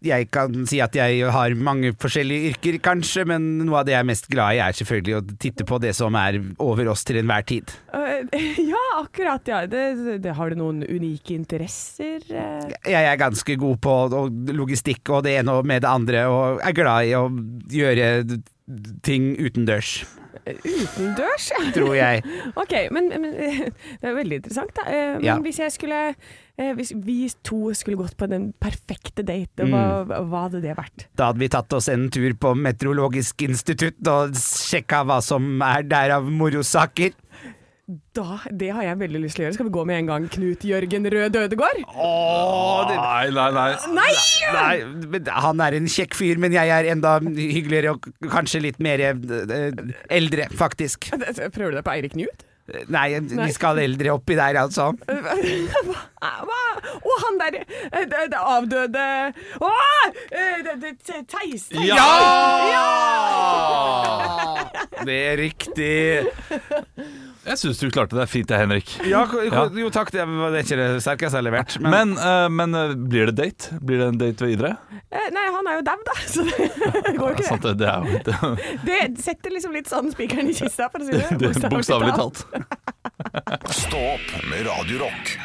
Speaker 11: Jeg kan si at jeg har mange forskjellige yrker, kanskje, men noe av det jeg er mest glad i, er selvfølgelig å titte på det som er over oss til enhver tid.
Speaker 5: Eh, (laughs) ja, akkurat, ja. Det, det, har du noen unike interesser? eh?
Speaker 11: Jeg er ganske god på å- logistikk og det ene og med det andre, og er glad i å gjøre ting utendørs,
Speaker 5: Utendørs?
Speaker 11: tror jeg.
Speaker 5: (laughs) Ok, men, men (laughs) eh, det er veldig interessant da. Eh, Men
Speaker 11: Ja.
Speaker 5: hvis jeg skulle eh, Hvis vi to skulle gått på den perfekte date, hva, hva hadde det vært?
Speaker 11: Da hadde vi tatt oss en tur på Meteorologisk institutt og sjekka hva som er der av morosaker.
Speaker 5: Da, det har jeg veldig lyst til å gjøre. Skal vi gå med en gang Knut Jørgen Rød Ødegård?
Speaker 4: Nei, nei, nei.
Speaker 5: Nei!
Speaker 11: Nei, men han er en kjekk fyr, men jeg er enda hyggeligere og k- kanskje litt mer eh, eldre, faktisk.
Speaker 5: (laughs) Prøver du deg på Eirik Knut?
Speaker 11: Nei, vi skal eldre oppi der, altså.
Speaker 5: Hva? Og han der eh, det, det avdøde Å! eh, det- det- Theis! Theis.
Speaker 3: Det er riktig.
Speaker 4: Jeg syns du klarte deg fint, jeg, Henrik.
Speaker 3: Ja, ko- ko- jo takk, det var det er ikke det sterkeste jeg har levert. Men,
Speaker 4: Men, eh, men eh, blir det date? Blir det en date videre?
Speaker 5: Eh, Nei, han er jo dau, da, (laughs) så det går jo
Speaker 4: Ja,
Speaker 5: ikke.
Speaker 4: sant, det, det er jo
Speaker 5: (laughs)
Speaker 4: ikke
Speaker 5: Det setter liksom litt sånn spikeren i kista, for å si det.
Speaker 4: (laughs) det, er Bokstavelig talt.
Speaker 2: Stå opp med Radio Rock.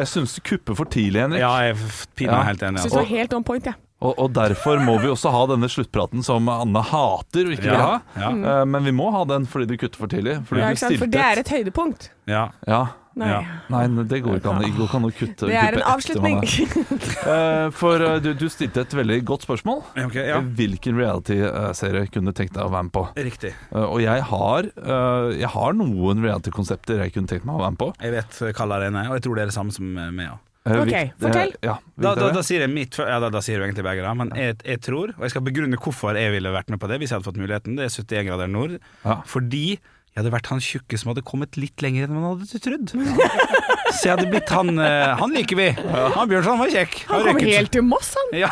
Speaker 4: Jeg syns du kupper for tidlig, Henrik.
Speaker 3: ja, jeg f- piner
Speaker 4: Ja.
Speaker 3: meg helt enig.
Speaker 5: Syns
Speaker 3: Altså.
Speaker 5: det var helt on point, jeg.
Speaker 4: Og, og derfor må vi også ha denne sluttpraten som Anne hater og ikke vil
Speaker 3: Ja,
Speaker 4: ha. Eh, men vi må ha den fordi du kutter for tidlig. Fordi
Speaker 5: Mm. Ja,
Speaker 4: du
Speaker 5: ikke sant? For
Speaker 4: stiltet.
Speaker 5: det er et høydepunkt.
Speaker 3: Ja.
Speaker 4: ja.
Speaker 5: Nei.
Speaker 3: Ja.
Speaker 4: Nei, men det går ikke an. Det går ikke an å kutte
Speaker 5: Det er
Speaker 4: kuppe
Speaker 5: en
Speaker 4: etter
Speaker 5: avslutning. (laughs)
Speaker 4: man er- Eh, for eh, du, du stilte et veldig godt spørsmål.
Speaker 3: Ja, ok, ja.
Speaker 4: Hvilken reality-serie kunne du tenkt deg å være med på?
Speaker 3: Riktig.
Speaker 4: Eh, og jeg har, eh, jeg har noen reality-konsepter jeg kunne tenkt meg å være med på.
Speaker 3: Jeg vet hva det er, og jeg tror det er det samme som meg òg.
Speaker 4: Eh,
Speaker 5: Ok,
Speaker 4: Vikt-
Speaker 5: fortell.
Speaker 4: eh, ja,
Speaker 3: Da,
Speaker 4: Victor,
Speaker 3: da, da sier jeg mitt fø- Ja, da, da sier du egentlig begge, da. Men jeg, jeg tror, og jeg skal begrunne hvorfor jeg ville vært med på det hvis jeg hadde fått muligheten, det er 71 grader nord.
Speaker 4: Ja.
Speaker 3: Fordi jeg hadde vært han tjukke som hadde kommet litt lenger enn man hadde trodd. Så jeg hadde blitt han eh, Han liker vi! Han Bjørnson var kjekk.
Speaker 5: Han kom
Speaker 3: røyket.
Speaker 5: helt til Moss, han.
Speaker 3: ja.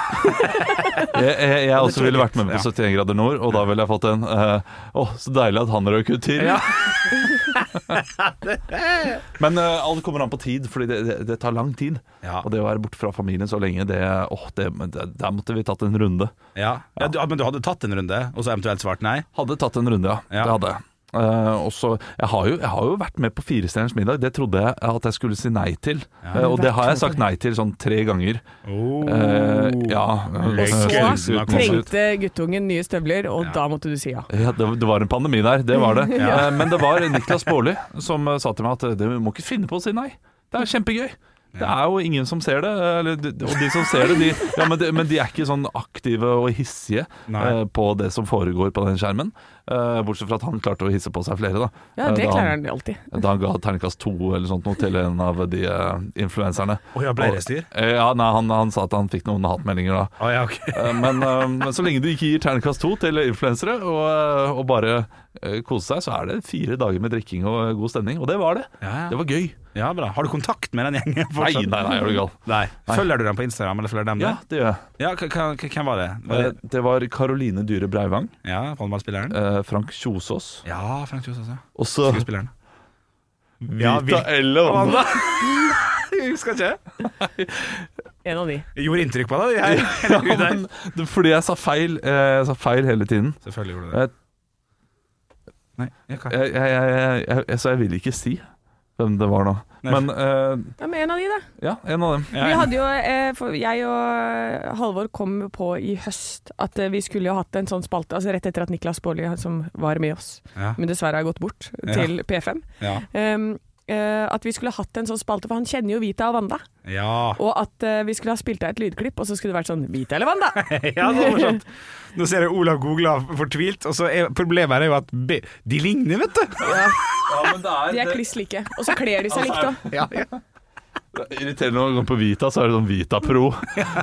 Speaker 4: (laughs) Jeg, jeg, jeg også
Speaker 3: tror jeg
Speaker 4: ville vært med
Speaker 3: litt,
Speaker 4: på 71 grader nord, og da ville jeg fått en eh, Åh, så deilig at han røk ut til.
Speaker 3: Ja.
Speaker 4: (laughs) Men eh, alt kommer an på tid, Fordi det, det, det tar lang tid.
Speaker 3: Ja.
Speaker 4: Og det å være borte fra familien så lenge, det, åh, det, men det Der måtte vi tatt en runde.
Speaker 3: Ja. ja, du- ah, men du hadde tatt en runde, og så eventuelt svart nei?
Speaker 4: Hadde tatt en runde, ja.
Speaker 3: Ja.
Speaker 4: Det hadde jeg. Eh, og så, jeg, har jo, jeg har jo vært med på Firestjerners middag. Det trodde jeg at jeg skulle si nei til. Eh, og det har jeg sagt nei til sånn tre ganger. Eh, ja.
Speaker 5: Og
Speaker 3: Leggen.
Speaker 5: så trengte guttungen nye støvler, og da måtte du si ja.
Speaker 4: Ja, det, det var en pandemi der, det var
Speaker 3: (laughs)
Speaker 4: det. Eh, Men det var Niklas Baarli som eh, sa til meg at eh, det- vi må ikke finne på å si nei. Det er kjempegøy. Det er jo ingen som ser det, eller, de- og de som ser det, de, ja, men, de, men de er ikke sånn aktive og hissige
Speaker 3: Nei.
Speaker 4: eh, på det som foregår på den skjermen. Eh, bortsett fra at han klarte å hisse på seg flere, da.
Speaker 5: Ja,
Speaker 4: Eh,
Speaker 5: det
Speaker 4: da
Speaker 5: klarer han alltid.
Speaker 4: Da han ga terningkast to eller sånt noe til en av de eh, influenserne.
Speaker 3: Å ja, ble det styr?
Speaker 4: Eh, Ja, nei, han, han sa at han fikk noen hatmeldinger da.
Speaker 3: Å ja, ok.
Speaker 4: Eh, Men, eh, men så lenge du ikke gir terningkast to til influensere og, eh, og bare eh, kose seg, så er det fire dager med drikking og eh, god stemning. Og det var det.
Speaker 3: Ja, ja.
Speaker 4: Det var gøy.
Speaker 3: Ja, bra. Har du kontakt med den gjengen?
Speaker 4: Nei,
Speaker 3: fortsatt?
Speaker 4: nei, nei, er du gal.
Speaker 3: Nei. Følger du dem på Instagram, eller følger dem
Speaker 4: Ja,
Speaker 3: deg?
Speaker 4: det gjør jeg.
Speaker 3: Ja, k- k- k- hvem var det? Var
Speaker 4: Eh,
Speaker 3: det
Speaker 4: Det var Karoline Dyhre Breivang,
Speaker 3: ja, håndballspilleren?
Speaker 4: eh, Frank Kjosås
Speaker 3: Ja, Frank Kjosås, ja.
Speaker 4: og så
Speaker 3: Skuespilleren. Ja,
Speaker 4: Vita Ellevann.
Speaker 3: Jeg husker ikke.
Speaker 5: En av de.
Speaker 3: Jeg gjorde inntrykk på deg. Jeg.
Speaker 4: Ja, men det- Fordi jeg sa feil, eh, jeg sa feil hele tiden.
Speaker 3: Selvfølgelig gjorde du det.
Speaker 4: Jeg,
Speaker 3: Nei, jeg kan.
Speaker 4: jeg, jeg, jeg, jeg, jeg, så jeg vil ikke si hvem det var nå. Men eh,
Speaker 5: Ja, men en av de, da.
Speaker 4: ja, en av dem.
Speaker 5: Vi hadde jo, eh, for jeg og eh, Halvor kom på i høst at eh, vi skulle jo hatt en sånn spalte, altså rett etter at Niklas Baarli, som var med oss,
Speaker 3: Ja.
Speaker 5: men dessverre har gått bort til P5,
Speaker 3: Ja.
Speaker 5: em, eh, at vi skulle hatt en sånn spalte, for han kjenner jo Vita og Wanda,
Speaker 3: Ja.
Speaker 5: og at eh, vi skulle ha spilt av et lydklipp, og så skulle det vært sånn Vita eller Wanda?
Speaker 3: (laughs) ja, det var morsomt. Nå ser jeg Olav googla fortvilt, og så er, problemet her er jo at be, de (laughs) ligner, vet du.
Speaker 5: De er kliss like, og så kler de seg likt òg.
Speaker 3: Ja, ja.
Speaker 4: Irriterende når man går på Vita, så er det sånn Vita (laughs) Pro.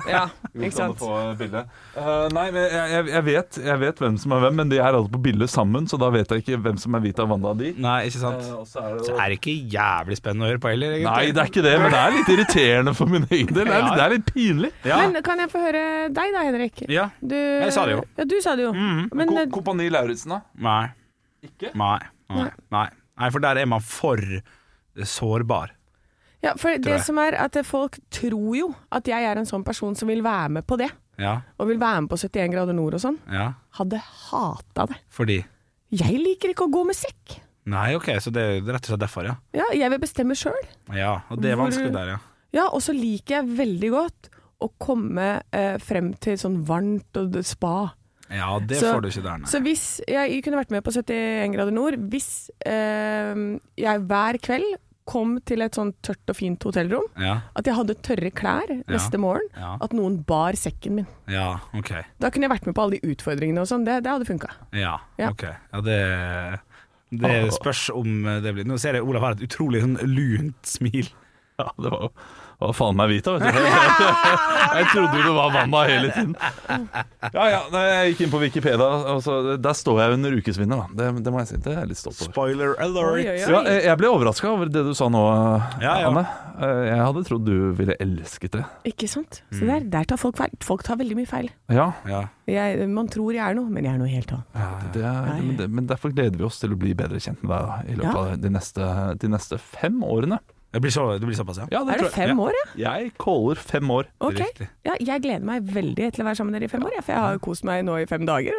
Speaker 5: Ja,
Speaker 4: Vil
Speaker 5: ikke sant?
Speaker 4: komme På bildet. Eh, nei, men jeg, jeg, jeg, vet, jeg vet hvem som er hvem, men de er alle på bildet sammen, så da vet jeg ikke hvem som er Vita og Wanda av de.
Speaker 11: Nei, ikke sant?
Speaker 4: Eh, og så er det
Speaker 11: Så
Speaker 4: jo-
Speaker 11: er det ikke jævlig spennende å høre på heller,
Speaker 4: Nei,
Speaker 11: egentlig.
Speaker 4: det er ikke det, men det er litt irriterende for min egen del. Det er, litt- det er litt pinlig.
Speaker 5: Men kan jeg få høre deg da, Henrik?
Speaker 11: Ja.
Speaker 5: Du,
Speaker 11: Jeg sa det jo.
Speaker 5: Ja, du sa det jo. Men eh,
Speaker 4: Ko Kompani Lauritzen, da?
Speaker 11: Nei.
Speaker 4: Ikke?
Speaker 11: Nei. Nei. Nei. Nei, for der er man for sårbar.
Speaker 5: ja, for det
Speaker 11: jeg.
Speaker 5: som er at eh, folk tror jo at jeg er en sånn person som vil være med på det.
Speaker 11: Ja.
Speaker 5: Og vil være med på 71 grader nord og sånn.
Speaker 11: ja.
Speaker 5: Hadde hata det.
Speaker 11: Fordi
Speaker 5: Jeg liker ikke å gå med sekk.
Speaker 11: Nei, ok, så det er rett og slett derfor, ja.
Speaker 5: Ja, jeg vil bestemme sjøl.
Speaker 11: Ja, Og det er
Speaker 5: Hvor-
Speaker 11: vanskelig der, ja.
Speaker 5: Ja, og så liker jeg veldig godt å komme eh, frem til sånn varmt og d- spa.
Speaker 11: Ja, det
Speaker 5: Så-
Speaker 11: får du ikke der, nei.
Speaker 5: Så hvis jeg kunne vært med på 71 grader nord, hvis eh, jeg hver kveld kom til et sånn tørt og fint hotellrom,
Speaker 11: Ja,
Speaker 5: at jeg hadde tørre klær neste morgen,
Speaker 11: Ja.
Speaker 5: at noen bar sekken min.
Speaker 11: ja, ok.
Speaker 5: Da kunne jeg vært med på alle de utfordringene og sånn, det, det hadde funka.
Speaker 11: Ja,
Speaker 5: Ja.
Speaker 11: ok. Ja, det, det spørs om det blir Nå ser jeg Olav har et utrolig sånn lunt smil.
Speaker 4: Ja, det var jo det var faen meg Vita, vet du. (laughs) Jeg trodde jo det var Wanda hele tiden. Ja ja, nei, jeg gikk inn på Wikipedia, og så, der står jeg under ukesvinner, da. Det, det må jeg si. Det er jeg litt stolt over.
Speaker 11: Spoiler
Speaker 5: Oi, oi,
Speaker 4: Ja,
Speaker 5: oi.
Speaker 4: eh, jeg jeg ble overraska over det du sa nå,
Speaker 11: Ja, ja.
Speaker 4: Anne. Eh, Jeg hadde trodd du ville elsket det.
Speaker 5: Ikke sant? Så der, der tar folk feil. Folk tar veldig mye feil.
Speaker 4: Ja,
Speaker 11: Ja.
Speaker 5: Jeg, man tror jeg er noe, men jeg er noe helt annet.
Speaker 4: det er, men, det, men derfor gleder vi oss til å bli bedre kjent med deg da, i løpet
Speaker 5: Ja.
Speaker 4: av de neste, de neste fem årene.
Speaker 11: Det blir, så, det blir såpass, ja.
Speaker 4: Ja,
Speaker 5: Er det
Speaker 4: tror jeg.
Speaker 5: fem år, ja?
Speaker 4: Ja. Jeg caller fem år.
Speaker 5: Ok,
Speaker 11: riktig.
Speaker 5: ja, Jeg gleder meg veldig til å være sammen med dere i fem år, ja, for jeg har jo kost meg nå i fem dager.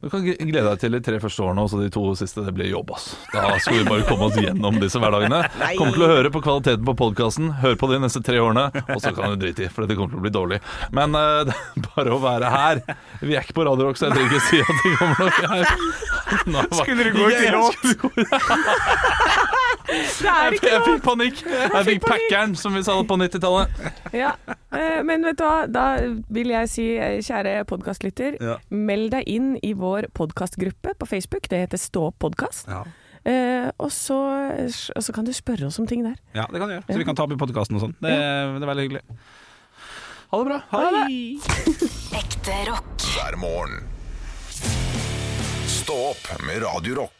Speaker 4: Du kan gl- glede deg til de tre første årene, og så de to siste det blir jobb. ass. Da skal vi bare komme oss gjennom disse hverdagene. Kommer til å høre på kvaliteten på podkasten, hør på de neste tre årene, og så kan du drite i, for det kommer til å bli dårlig. Men eh, det er bare å være her. Vi er ikke på Radio Rock, så jeg trenger ikke si at det kommer noe her. Nå, hva-
Speaker 11: Skulle du gå ut i låt?
Speaker 5: Det er
Speaker 4: Jeg,
Speaker 5: ikke
Speaker 4: jeg
Speaker 5: noe!
Speaker 4: fikk panikk. Jeg fikk packeren, som vi sa på 90-tallet.
Speaker 5: Ja. eh, Men vet du hva, da vil jeg si, eh, kjære podkastlytter,
Speaker 11: Ja.
Speaker 5: meld deg inn i vår podkastgruppe på Facebook. Det heter Stå opp podkast.
Speaker 11: Ja.
Speaker 5: Eh, og, så, og så kan du spørre oss om ting der.
Speaker 11: ja, det kan du gjøre. Så vi kan ta opp i podkasten og sånn. Det, det er veldig hyggelig.
Speaker 4: Ha det bra.
Speaker 8: Ekte rock.
Speaker 2: hver morgen. Stå opp med Radio Rock.